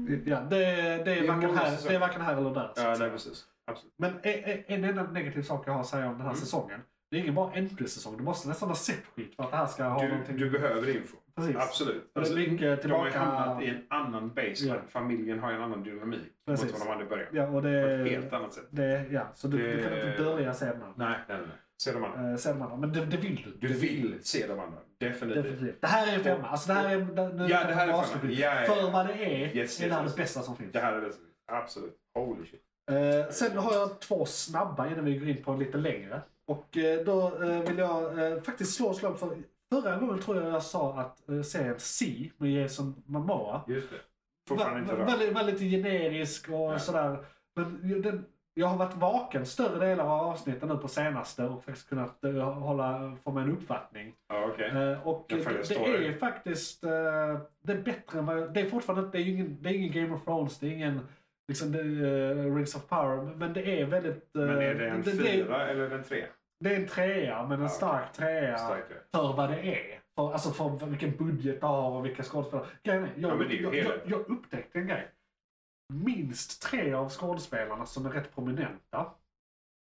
[SPEAKER 4] det...
[SPEAKER 3] Ja, det, det, är varken
[SPEAKER 4] är många
[SPEAKER 3] här,
[SPEAKER 4] säsonger.
[SPEAKER 3] det är varken här eller där. så
[SPEAKER 4] Ja,
[SPEAKER 3] att
[SPEAKER 4] nej
[SPEAKER 3] säga.
[SPEAKER 4] precis. Absolut.
[SPEAKER 3] Men e- e- en enda negativ sak jag har att säga om den här
[SPEAKER 4] Mm.
[SPEAKER 3] säsongen. Det är ingen bara NP-säsong. Du måste nästan ha sett skit för att det här ska ha
[SPEAKER 4] Du,
[SPEAKER 3] någonting.
[SPEAKER 4] du behöver info.
[SPEAKER 3] Precis.
[SPEAKER 4] Absolut.
[SPEAKER 3] det är mycket
[SPEAKER 4] de har ju
[SPEAKER 3] tillbaka-
[SPEAKER 4] hamnat i en annan baseline.
[SPEAKER 3] Ja.
[SPEAKER 4] Familjen har en annan dynamik
[SPEAKER 3] Precis.
[SPEAKER 4] mot vad de hade i början.
[SPEAKER 3] Ja, eh, och
[SPEAKER 4] På
[SPEAKER 3] det...
[SPEAKER 4] ett helt annat sätt.
[SPEAKER 3] Det, ja, så du, du kan
[SPEAKER 4] Det-
[SPEAKER 3] inte börja se den här.
[SPEAKER 4] Nej, nej, nej. Se de andra.
[SPEAKER 3] Eh, sen de andra. Men det, det vill du.
[SPEAKER 4] Du vill se de andra. Definitivt.
[SPEAKER 3] Definitivt. Det här är en femma. Alltså det här är... nu-
[SPEAKER 4] Ja, det här är femma.
[SPEAKER 3] avslutar vi.
[SPEAKER 4] Ja, ja, ja.
[SPEAKER 3] För vad det är,
[SPEAKER 4] Yes,
[SPEAKER 3] är det här
[SPEAKER 4] yes,
[SPEAKER 3] det bästa som finns.
[SPEAKER 4] Det här är det. Absolut. Holy shit.
[SPEAKER 3] Eh, sen har jag två snabba innan vi går in på en lite längre. Och eh, då eh, vill jag eh, faktiskt slå ett slag för... Förra gången tror jag jag sa att eh, serien C med Jason Momoa
[SPEAKER 4] Just det.
[SPEAKER 3] var,
[SPEAKER 4] Fortfarande inte rört.
[SPEAKER 3] väldigt, väldigt generisk och
[SPEAKER 4] Ja.
[SPEAKER 3] sådär. Men ju- den, jag har varit vaken större delar av avsnitten nu på senaste och faktiskt kunnat eh, hålla, få mig en uppfattning.
[SPEAKER 4] Ja, okej.
[SPEAKER 3] Eh, och
[SPEAKER 4] Jag
[SPEAKER 3] det,
[SPEAKER 4] följer
[SPEAKER 3] det
[SPEAKER 4] storyn.
[SPEAKER 3] är faktiskt eh, det är bättre än vad jag, Det är fortfarande inte- det är ju ingen, det är ingen Game of Thrones, det är ingen liksom, det, är, eh, Rings of Power, men det är väldigt... eh,
[SPEAKER 4] Men är det en
[SPEAKER 3] det, det,
[SPEAKER 4] fyra eller en tre?
[SPEAKER 3] det är en trea, men en
[SPEAKER 4] Ja,
[SPEAKER 3] stark trea
[SPEAKER 4] Starkare.
[SPEAKER 3] för vad det är. För, alltså för vilken budget det har och vilka skådespelare. Grejen är, jag,
[SPEAKER 4] Ja, men det är ju
[SPEAKER 3] jag, jag,
[SPEAKER 4] helheten.
[SPEAKER 3] jag upptäckte en grej. Minst tre av skådespelarna som är rätt prominenta,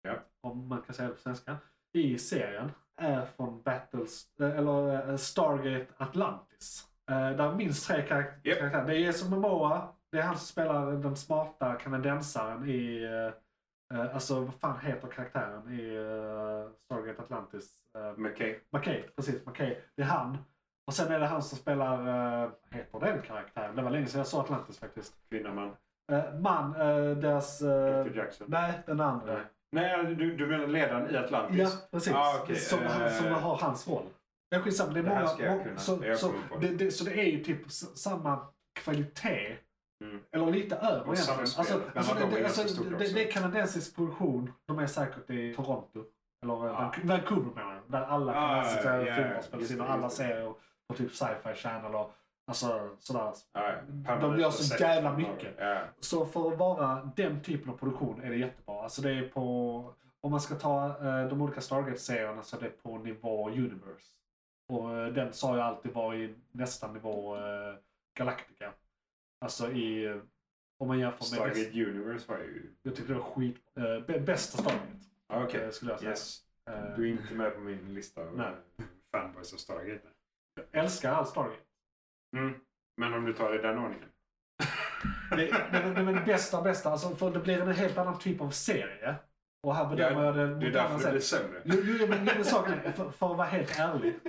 [SPEAKER 4] Ja.
[SPEAKER 3] om man kan säga det på svenska, i serien är från Battles, eh, eller eh, Stargate Atlantis. Eh, Där är minst tre karak-
[SPEAKER 4] Japp.
[SPEAKER 3] karaktärer. Det är Jason Momoa, det är han som spelar den smarta kanadensaren i, eh, eh, alltså vad fan heter karaktären i eh, Stargate Atlantis? Eh,
[SPEAKER 4] McKay.
[SPEAKER 3] McKay, precis. McKay. Det är han. Och sen är det han som spelar, eh, vad heter den karaktären? Det var länge sedan jag såg Atlantis faktiskt.
[SPEAKER 4] Kvinna, man.
[SPEAKER 3] Eh, man, eh, deras... eh,
[SPEAKER 4] Dr Jackson.
[SPEAKER 3] nej, den andra.
[SPEAKER 4] Nej, du, du menar ledaren i
[SPEAKER 3] Ja,
[SPEAKER 4] Atlantis?
[SPEAKER 3] precis.
[SPEAKER 4] Ah, okej,
[SPEAKER 3] som, han-
[SPEAKER 4] eh,
[SPEAKER 3] som har hans roll. Det är skitsamma, det är
[SPEAKER 4] det här ska jag
[SPEAKER 3] många... må-
[SPEAKER 4] kunna.
[SPEAKER 3] Så,
[SPEAKER 4] Jag
[SPEAKER 3] så,
[SPEAKER 4] kommer på det.
[SPEAKER 3] det, det, så det är ju typ s- samma kvalitet.
[SPEAKER 4] Mm.
[SPEAKER 3] Eller lite över
[SPEAKER 4] Och samma
[SPEAKER 3] egentligen.
[SPEAKER 4] spel.
[SPEAKER 3] Alltså,
[SPEAKER 4] Men
[SPEAKER 3] alltså,
[SPEAKER 4] de är
[SPEAKER 3] det, det,
[SPEAKER 4] ganska
[SPEAKER 3] alltså,
[SPEAKER 4] stora
[SPEAKER 3] det,
[SPEAKER 4] också.
[SPEAKER 3] det är kanadensisk produktion. De är säkert i Toronto. Eller eh, Vancou- Vancouver menar jag. Där alla
[SPEAKER 4] Ah,
[SPEAKER 3] kanadensiska
[SPEAKER 4] ja, ja,
[SPEAKER 3] filmer
[SPEAKER 4] ja.
[SPEAKER 3] spelas
[SPEAKER 4] Just
[SPEAKER 3] in
[SPEAKER 4] det,
[SPEAKER 3] och alla
[SPEAKER 4] just det.
[SPEAKER 3] serier på typ sci-fi channel och alltså, sådär.
[SPEAKER 4] Ja,
[SPEAKER 3] De gör så
[SPEAKER 4] perfekt.
[SPEAKER 3] jävla mycket.
[SPEAKER 4] Ja.
[SPEAKER 3] Så för att vara den typen av produktion är det jättebra. Alltså det är på, om man ska ta eh, de olika Stargate-serierna så är det på nivå Universe. Och eh, den sa jag alltid var i nästa nivå eh, Galactica. Alltså i, eh, om man jämför med... näst-
[SPEAKER 4] Stargate Universe var ju...
[SPEAKER 3] Jag tyckte det var skit, eh, bä- bästa Stargate.
[SPEAKER 4] Ah,
[SPEAKER 3] eh,
[SPEAKER 4] Okej.
[SPEAKER 3] Skulle jag säga.
[SPEAKER 4] Yes.
[SPEAKER 3] Eh,
[SPEAKER 4] Du är inte med på min lista av
[SPEAKER 3] Nej.
[SPEAKER 4] fanboys av Stargate.
[SPEAKER 3] älskar all Stargate.
[SPEAKER 4] Mm. Men om du tar det i den ordningen.
[SPEAKER 3] Det, det, det, det, det bästa, bästa. Alltså för det blir en helt annan typ av serie. Och här bedömer jag det
[SPEAKER 4] Det är
[SPEAKER 3] moderna
[SPEAKER 4] därför det
[SPEAKER 3] sättet.
[SPEAKER 4] blir sämre.
[SPEAKER 3] alltså, Jo, jo, jo, men, jo, men saken är, för, för att vara helt ärlig,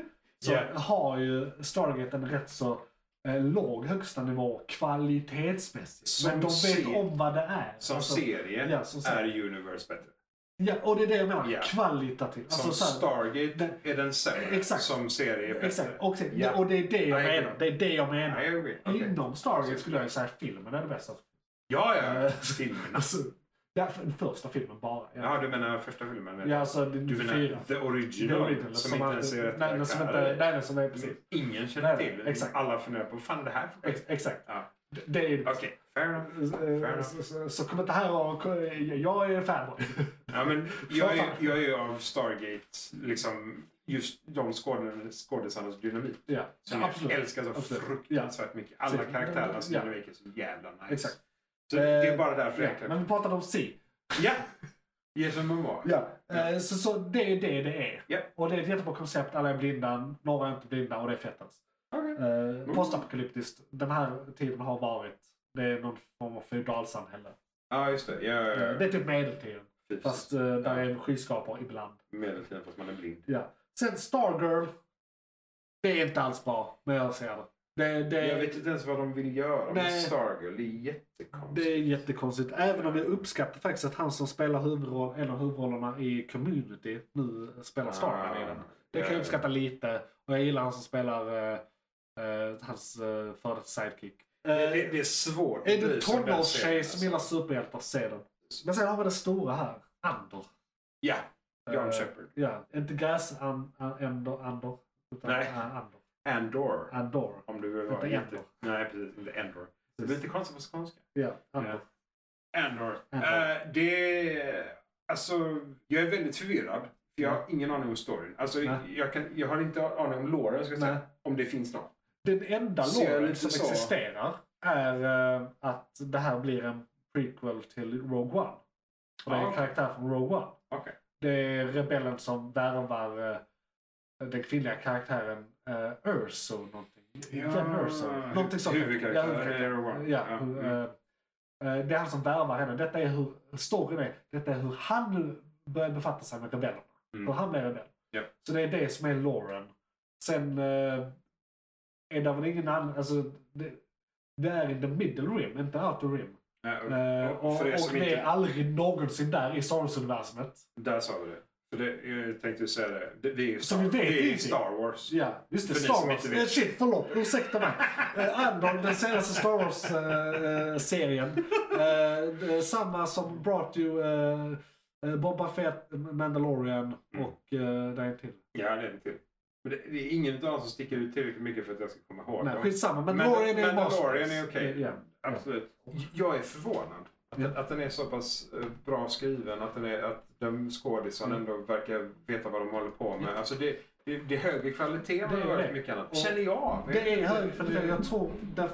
[SPEAKER 3] så
[SPEAKER 4] Ja.
[SPEAKER 3] har ju Stargate en rätt så eh, låg högsta nivå kvalitetsmässigt. men
[SPEAKER 4] Som
[SPEAKER 3] de vet
[SPEAKER 4] serie.
[SPEAKER 3] om vad det är.
[SPEAKER 4] Som
[SPEAKER 3] Alltså,
[SPEAKER 4] serie
[SPEAKER 3] ja, som serie.
[SPEAKER 4] är Universe bättre.
[SPEAKER 3] Ja, och det är det jag menar.
[SPEAKER 4] Ja.
[SPEAKER 3] Kvalitativt.
[SPEAKER 4] Som
[SPEAKER 3] Alltså, så här-
[SPEAKER 4] Stargate
[SPEAKER 3] den-
[SPEAKER 4] är den sämre.
[SPEAKER 3] Exakt.
[SPEAKER 4] Som serie är bättre.
[SPEAKER 3] Exakt. Och, sen,
[SPEAKER 4] Ja.
[SPEAKER 3] och det är det jag
[SPEAKER 4] I agree.
[SPEAKER 3] menar. Det är det jag menar.
[SPEAKER 4] I agree. Okej.
[SPEAKER 3] Inom Stargate skulle jag ju säga att filmen är det bästa.
[SPEAKER 4] Ja, ja.
[SPEAKER 3] Eh.
[SPEAKER 4] Filmerna.
[SPEAKER 3] Alltså, ja, för- den första filmen bara.
[SPEAKER 4] Ja, du menar första filmen? eller?
[SPEAKER 3] ja alltså, det är
[SPEAKER 4] Du menar
[SPEAKER 3] fyra.
[SPEAKER 4] The Original?
[SPEAKER 3] The Original,
[SPEAKER 4] som, inte ens är Mm. rätt
[SPEAKER 3] nej, nej, som inte, nej, nej, som är precis.
[SPEAKER 4] Ingen
[SPEAKER 3] Nej,
[SPEAKER 4] känner
[SPEAKER 3] nej,
[SPEAKER 4] till.
[SPEAKER 3] exakt.
[SPEAKER 4] Alla funderar på fan det här för skit.
[SPEAKER 3] Ex, exakt. Eh,
[SPEAKER 4] Ja.
[SPEAKER 3] Det, det är ju...
[SPEAKER 4] Okej, fair enough. Fair enough.
[SPEAKER 3] Så, så, så kom inte här och... Jag är fanboy.
[SPEAKER 4] Ja, men jag,
[SPEAKER 3] Vad
[SPEAKER 4] är,
[SPEAKER 3] fan?
[SPEAKER 4] jag är ju av Stargate, liksom, just de skådespel- skådisarnas dynamik.
[SPEAKER 3] ja,
[SPEAKER 4] Som
[SPEAKER 3] ja,
[SPEAKER 4] jag
[SPEAKER 3] absolut.
[SPEAKER 4] älskar så
[SPEAKER 3] Absolut.
[SPEAKER 4] fruktansvärt mycket. Alla
[SPEAKER 3] Precis.
[SPEAKER 4] karaktärernas
[SPEAKER 3] Ja.
[SPEAKER 4] dynamik är så jävla nice.
[SPEAKER 3] Exakt.
[SPEAKER 4] Så det är
[SPEAKER 3] Eh,
[SPEAKER 4] bara därför
[SPEAKER 3] Ja,
[SPEAKER 4] egentligen.
[SPEAKER 3] men vi pratade om C.
[SPEAKER 4] Ja! Jason Momoa.
[SPEAKER 3] Ja. eh, Så, så det är det det är.
[SPEAKER 4] Ja.
[SPEAKER 3] Och det är ett jättebra koncept. Alla är blinda, några är inte blinda och det är fett alltså.
[SPEAKER 4] Okej. Mm.
[SPEAKER 3] Eh, Postapokalyptiskt. Den här tiden har varit. Det är någon form av feodalsamhälle.
[SPEAKER 4] Ja, just det. Ja, ja,
[SPEAKER 3] Eh,
[SPEAKER 4] ja.
[SPEAKER 3] Det är typ medeltiden.
[SPEAKER 4] Precis.
[SPEAKER 3] Fast eh, där är skyskrapor ibland.
[SPEAKER 4] Medeltiden fast man är blind.
[SPEAKER 3] Ja. Sen Stargirl. Det är inte alls bra, men jag ser det. det, det
[SPEAKER 4] Jag vet inte ens vad de vill göra med
[SPEAKER 3] Eh, Nej.
[SPEAKER 4] Stargirl. Det är jättekonstigt.
[SPEAKER 3] Det är jättekonstigt. Även om jag uppskattar faktiskt att han som spelar huvudroll, en av huvudrollerna i Community nu
[SPEAKER 4] Ah,
[SPEAKER 3] spelar Starman i den. Det kan jag uppskatta lite. Och jag gillar han som spelar eh, eh, hans eh, före detta sidekick. Eh,
[SPEAKER 4] Det, det, det är svårt.
[SPEAKER 3] är du
[SPEAKER 4] blir som den
[SPEAKER 3] tonårstjej
[SPEAKER 4] scenen,
[SPEAKER 3] som
[SPEAKER 4] alltså.
[SPEAKER 3] gillar superhjältar, se den. Men sen har vi det stora här. Ander.
[SPEAKER 4] Ja, John
[SPEAKER 3] Eh,
[SPEAKER 4] Shepard.
[SPEAKER 3] Ja, inte gräsänder, Ander. Utan
[SPEAKER 4] Nej.
[SPEAKER 3] eh, Ander.
[SPEAKER 4] Andor.
[SPEAKER 3] Andor.
[SPEAKER 4] Om du vill
[SPEAKER 3] Inte
[SPEAKER 4] vara
[SPEAKER 3] Endor.
[SPEAKER 4] jätte... Nej, precis. Inte Endor. Det blir lite konstigt på skånska.
[SPEAKER 3] Ja, Ander.
[SPEAKER 4] Andor.
[SPEAKER 3] Andor.
[SPEAKER 4] Eh, det... Alltså, jag är väldigt förvirrad. För jag har ingen aning om storyn. Alltså,
[SPEAKER 3] Mm. Nej.
[SPEAKER 4] jag, kan, jag har inte aning om låren, ska jag säga.
[SPEAKER 3] Nej.
[SPEAKER 4] Om det finns någon.
[SPEAKER 3] Den enda
[SPEAKER 4] Ser jag
[SPEAKER 3] låren
[SPEAKER 4] lite
[SPEAKER 3] som
[SPEAKER 4] så.
[SPEAKER 3] existerar är eh, att det här blir en prequel till Rogue One. Och det är
[SPEAKER 4] Ah,
[SPEAKER 3] en
[SPEAKER 4] okej.
[SPEAKER 3] karaktär från Rogue One.
[SPEAKER 4] Okej.
[SPEAKER 3] Det är rebellen som värvar eh, den kvinnliga karaktären eh, Urso någonting. Jen Urso. Någonting sånt.
[SPEAKER 4] Huvudkaraktären
[SPEAKER 3] Ja, huvudkaraktären.
[SPEAKER 4] i Rogue One.
[SPEAKER 3] Ja,
[SPEAKER 4] Ja,
[SPEAKER 3] hur,
[SPEAKER 4] mm.
[SPEAKER 3] eh, eh, det är han som värvar henne. Detta är hur storyn är. Detta är hur han nu börjar befatta sig med rebellerna.
[SPEAKER 4] Mm.
[SPEAKER 3] För han blir rebell.
[SPEAKER 4] Japp.
[SPEAKER 3] Så det är det som är Lauren. Sen eh, är det väl ingen annan, alltså det, det är in the middle rim, inte outer rim.
[SPEAKER 4] Nej, och-
[SPEAKER 3] Eh,
[SPEAKER 4] och-
[SPEAKER 3] och,
[SPEAKER 4] för er
[SPEAKER 3] och
[SPEAKER 4] som
[SPEAKER 3] det
[SPEAKER 4] inte-
[SPEAKER 3] är aldrig någonsin där i Star Wars-universumet.
[SPEAKER 4] Där sa vi det. För det jag tänkte säga det. det vi är ju
[SPEAKER 3] Som
[SPEAKER 4] Star,
[SPEAKER 3] vi vet
[SPEAKER 4] det är ju
[SPEAKER 3] ingenting.
[SPEAKER 4] Star Wars.
[SPEAKER 3] Ja, just det.
[SPEAKER 4] För ni
[SPEAKER 3] Star
[SPEAKER 4] som
[SPEAKER 3] Wars.
[SPEAKER 4] inte vet.
[SPEAKER 3] Eh, Shit, förlåt. Ursäkta mig. Eh, Andor, den senaste Star eh, Wars-serien. Eh, samma som brought you eh, eh, Boba Fett, Mandalorian
[SPEAKER 4] Mm.
[SPEAKER 3] och eh, det är en till.
[SPEAKER 4] Ja, det är det till. Men det, det är ingen av dem som sticker ut tillräckligt mycket för att jag ska komma ihåg
[SPEAKER 3] Nej,
[SPEAKER 4] dem.
[SPEAKER 3] skitsamma.
[SPEAKER 4] Men-
[SPEAKER 3] Mandalorian är
[SPEAKER 4] Mandalorian
[SPEAKER 3] masterpiece.
[SPEAKER 4] är okej.
[SPEAKER 3] Eh, ja, ja.
[SPEAKER 4] Absolut. Jag är förvånad. Att, den- att den är så pass eh, bra skriven, att, den är, att de skådisarna
[SPEAKER 3] Mm.
[SPEAKER 4] ändå verkar veta vad de håller på med. Alltså det, det, det är högre kvalitet än
[SPEAKER 3] Det är
[SPEAKER 4] vad det
[SPEAKER 3] det.
[SPEAKER 4] är mycket annat.
[SPEAKER 3] Och-
[SPEAKER 4] Känner jag.
[SPEAKER 3] Det är hög
[SPEAKER 4] Det-
[SPEAKER 3] kvalitet. Jag tror, där,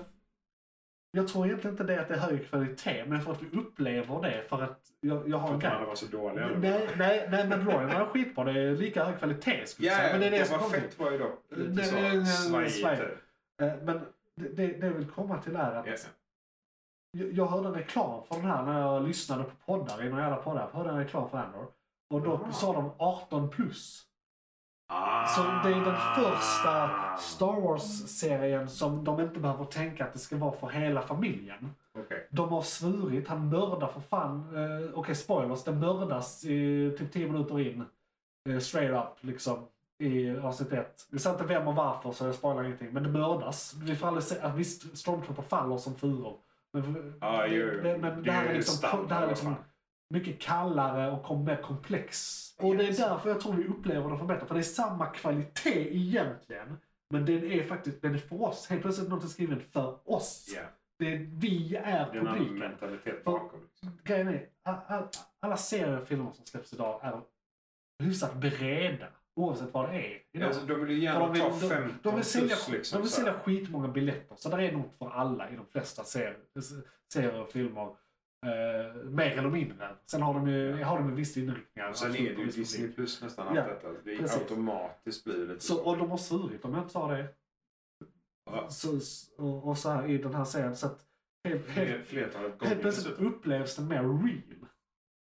[SPEAKER 3] jag tror egentligen inte det att det är hög kvalitet, men för att vi upplever det. För att jag, jag har
[SPEAKER 4] För
[SPEAKER 3] en
[SPEAKER 4] kan alla
[SPEAKER 3] guide.
[SPEAKER 4] vara så dåliga?
[SPEAKER 3] Nej, nej, nej, Mandalorian var skitbra. Det är lika hög kvalitet skulle
[SPEAKER 4] Ja,
[SPEAKER 3] jag säga. Men det är det som
[SPEAKER 4] var
[SPEAKER 3] kommer.
[SPEAKER 4] fett var ju dock
[SPEAKER 3] Det-
[SPEAKER 4] lite
[SPEAKER 3] det- det-
[SPEAKER 4] så
[SPEAKER 3] svajigt.
[SPEAKER 4] svajigt.
[SPEAKER 3] Eh, Men det, det, det jag vill komma till är att
[SPEAKER 4] Ja.
[SPEAKER 3] jag, jag hörde en reklam för den här när jag lyssnade på poddar, i några jävla poddar. Jag hörde en reklam för Andor. Och då
[SPEAKER 4] Aha.
[SPEAKER 3] sa de 18 plus.
[SPEAKER 4] Ah.
[SPEAKER 3] Så det är den första Star Wars-serien som de inte behöver tänka att det ska vara för hela familjen.
[SPEAKER 4] Okej.
[SPEAKER 3] De har svurit, han mördar för fan. Eh, Okej, spoilers. Det mördas eh, typ 10 minuter in. Eh, straight up liksom. I avsnitt 1. Vi sa inte vem och varför så jag spoilar ingenting. Men det mördas. Vi får aldrig se, att visst, stormtrooper faller som furor. Men,
[SPEAKER 4] Ja,
[SPEAKER 3] det,
[SPEAKER 4] ju,
[SPEAKER 3] det, men det här
[SPEAKER 4] ju
[SPEAKER 3] är liksom,
[SPEAKER 4] standard
[SPEAKER 3] det här är
[SPEAKER 4] i alla
[SPEAKER 3] liksom
[SPEAKER 4] fall.
[SPEAKER 3] mycket kallare och kom- mer komplex. Och det är därför jag tror vi upplever den som bättre. För det är samma kvalitet egentligen. Men den är faktiskt, den är för oss. Helt plötsligt något är skriven för oss.
[SPEAKER 4] Ja,
[SPEAKER 3] Det är, vi är
[SPEAKER 4] det är en annan
[SPEAKER 3] publiken.
[SPEAKER 4] mentalitet
[SPEAKER 3] För-
[SPEAKER 4] bakom. liksom.
[SPEAKER 3] Grejen är, a- a- alla serier och filmer som släpps idag är hyfsat breda. Oavsett vad det är. Idag.
[SPEAKER 4] Alltså, de vill ju
[SPEAKER 3] För
[SPEAKER 4] gärna
[SPEAKER 3] de, vill,
[SPEAKER 4] ta
[SPEAKER 3] de,
[SPEAKER 4] 15
[SPEAKER 3] de, vill sälja,
[SPEAKER 4] plus liksom.
[SPEAKER 3] de vill
[SPEAKER 4] så
[SPEAKER 3] sälja
[SPEAKER 4] här.
[SPEAKER 3] skitmånga biljetter. Så där är nog för alla i de flesta serier, serier och filmer. Eh, mer eller mindre. Sen har de ju, har de ju viss inriktning.
[SPEAKER 4] Och Sen är det ju Disney plus nästan allt
[SPEAKER 3] Ja,
[SPEAKER 4] detta. Alltså, Det är
[SPEAKER 3] precis.
[SPEAKER 4] automatiskt blir det typ lite
[SPEAKER 3] Så, och de har svurit om jag inte sa det.
[SPEAKER 4] Ja.
[SPEAKER 3] Så, och, och så här i den här serien. Så att helt,
[SPEAKER 4] Fler-
[SPEAKER 3] helt,
[SPEAKER 4] Flertalet gånger
[SPEAKER 3] helt plötsligt
[SPEAKER 4] dessutom.
[SPEAKER 3] upplevs den mer real.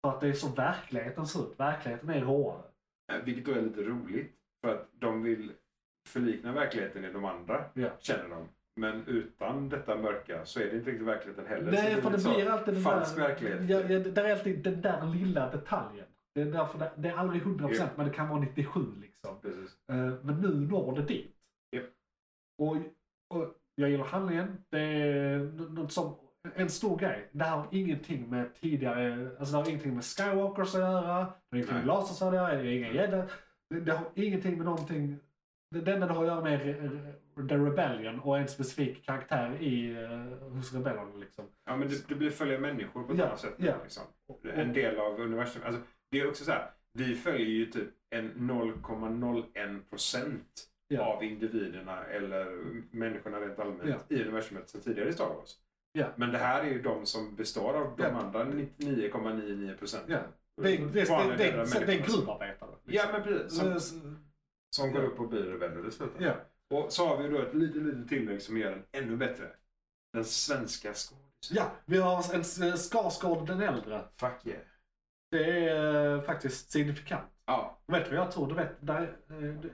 [SPEAKER 3] För att det är så verkligheten ser ut. Verkligheten är råare.
[SPEAKER 4] Eh, Vilket då är lite roligt. För att de vill förlikna verkligheten i de andra,
[SPEAKER 3] Ja.
[SPEAKER 4] känner de. Men utan detta mörka så är det inte riktigt verkligheten heller. så
[SPEAKER 3] Nej,
[SPEAKER 4] är
[SPEAKER 3] för
[SPEAKER 4] lite
[SPEAKER 3] det
[SPEAKER 4] så
[SPEAKER 3] blir alltid den
[SPEAKER 4] Falsk
[SPEAKER 3] där...
[SPEAKER 4] verklighet.
[SPEAKER 3] Ja, ja, det där är alltid den där lilla detaljen. Det är, därför det, det är aldrig 100%
[SPEAKER 4] Ja.
[SPEAKER 3] men det kan vara 97 liksom.
[SPEAKER 4] Precis.
[SPEAKER 3] Eh, Men nu når det dit.
[SPEAKER 4] Japp.
[SPEAKER 3] Och, och jag gillar handlingen. Det är n- något som, en stor grej. Det här har ingenting med tidigare, alltså det har ingenting med Skywalkers att göra. Det har ingenting med
[SPEAKER 4] Nej.
[SPEAKER 3] lasersvärd att göra. Det är inga gädda. Det, det har ingenting med någonting. Det, det enda det har att göra med är re, re, The Rebellion och en specifik karaktär i, eh, hos rebellerna liksom.
[SPEAKER 4] Ja, men det, det blir följa människor på ett
[SPEAKER 3] Ja,
[SPEAKER 4] annat sätt.
[SPEAKER 3] ja.
[SPEAKER 4] Liksom.
[SPEAKER 3] Mm.
[SPEAKER 4] En del av universum. Alltså, det är också så här, vi följer ju typ en 0,01 procent
[SPEAKER 3] Ja.
[SPEAKER 4] av individerna eller människorna rent allmänt i universumet sedan tidigare i Star Wars.
[SPEAKER 3] Ja.
[SPEAKER 4] Men det här är ju de som består av de
[SPEAKER 3] Ja.
[SPEAKER 4] andra 99,99 procent.
[SPEAKER 3] Ja. Det, det, det, det, det, det är gruvarbetare. liksom.
[SPEAKER 4] Ja, men precis. Som,
[SPEAKER 3] Så-
[SPEAKER 4] som går upp och blir rebeller i slutändan.
[SPEAKER 3] ja.
[SPEAKER 4] Och så har vi då ett litet, litet tillägg som gör den ännu bättre. Den svenska skådisen.
[SPEAKER 3] ja, vi har en eh, Skarsgård den äldre.
[SPEAKER 4] Fuck yeah.
[SPEAKER 3] Det är eh, faktiskt signifikant.
[SPEAKER 4] Ja,
[SPEAKER 3] Vet du vad jag tror? Du vet, där,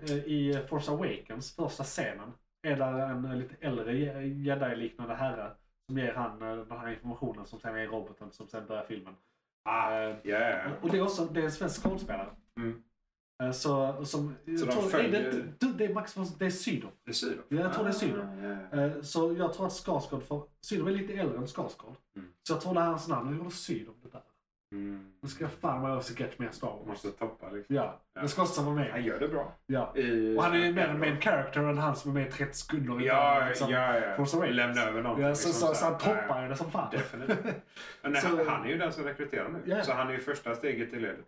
[SPEAKER 3] eh, i Force Awakens första scenen är där en eh, lite äldre je- jedi-liknande herre som ger han eh, den här informationen som sen är roboten som sen börjar filmen. Eh,
[SPEAKER 4] yeah.
[SPEAKER 3] och det är också det är en svensk skådespelare.
[SPEAKER 4] Ah. Mm.
[SPEAKER 3] Eh, Så, som,
[SPEAKER 4] Så
[SPEAKER 3] jag
[SPEAKER 4] de
[SPEAKER 3] tror, är
[SPEAKER 4] följer-
[SPEAKER 3] det, inte- du, det är Max von, det är Sydow.
[SPEAKER 4] Det är Sydow.
[SPEAKER 3] Ja, jag tror det är Sydow.
[SPEAKER 4] Ah, ja.
[SPEAKER 3] Eh, Så jag tror att Skarsgård, för Sydow är lite äldre än Skarsgård.
[SPEAKER 4] Mm.
[SPEAKER 3] Så jag tror det är hans namn, nu gjorde Sydow det där.
[SPEAKER 4] Mm.
[SPEAKER 3] Nu ska jag fan vara översiktigt mer Star Wars.
[SPEAKER 4] Måste toppa liksom.
[SPEAKER 3] Ja,
[SPEAKER 4] Ja.
[SPEAKER 3] det ska också vara med.
[SPEAKER 4] Han gör det bra.
[SPEAKER 3] Ja.
[SPEAKER 4] I-
[SPEAKER 3] Och han är ju mer en main character än han som är med i 30 sekunder. i början,
[SPEAKER 4] Ja,
[SPEAKER 3] liksom.
[SPEAKER 4] ja, ja.
[SPEAKER 3] Force Awakens.
[SPEAKER 4] Lämna över någonting.
[SPEAKER 3] ja så,
[SPEAKER 4] liksom,
[SPEAKER 3] så, så han
[SPEAKER 4] här.
[SPEAKER 3] toppar ju det som fan.
[SPEAKER 4] Nej, Definitivt. Men nej,
[SPEAKER 3] Så-
[SPEAKER 4] han, han är ju den som rekryterar nu.
[SPEAKER 3] Ja.
[SPEAKER 4] Så han är ju första steget i ledet.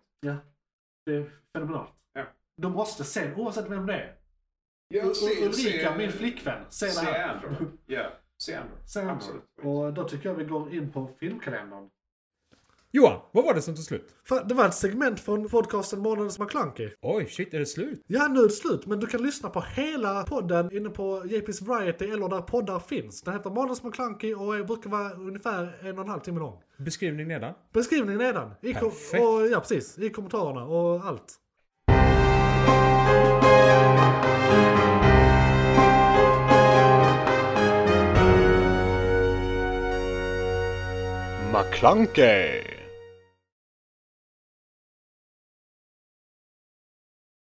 [SPEAKER 3] Det är fenomenalt.
[SPEAKER 4] Ja.
[SPEAKER 3] De måste se, oavsett vem det är. Ul- Ulrika, min flickvän, se det
[SPEAKER 4] Se
[SPEAKER 3] här.
[SPEAKER 4] Andor. Ja, se Andor.
[SPEAKER 3] Se henne.
[SPEAKER 4] Absolut.
[SPEAKER 3] Och då tycker jag vi går in på filmkalendern.
[SPEAKER 2] Johan, vad var det som tog slut?
[SPEAKER 1] Fan, det var ett segment från podcasten Månadens McKlunky.
[SPEAKER 2] Oj, shit, är det slut?
[SPEAKER 1] Ja, nu är det slut, men du kan lyssna på hela podden inne på JP's Variety eller där poddar finns. Den heter Månadens McKlunky och brukar vara ungefär en och en halv timme lång.
[SPEAKER 2] Beskrivning nedan.
[SPEAKER 1] Beskrivningen nedan. I kom-
[SPEAKER 2] Perfekt.
[SPEAKER 1] och, ja, precis. I kommentarerna och allt.
[SPEAKER 5] McClunkey.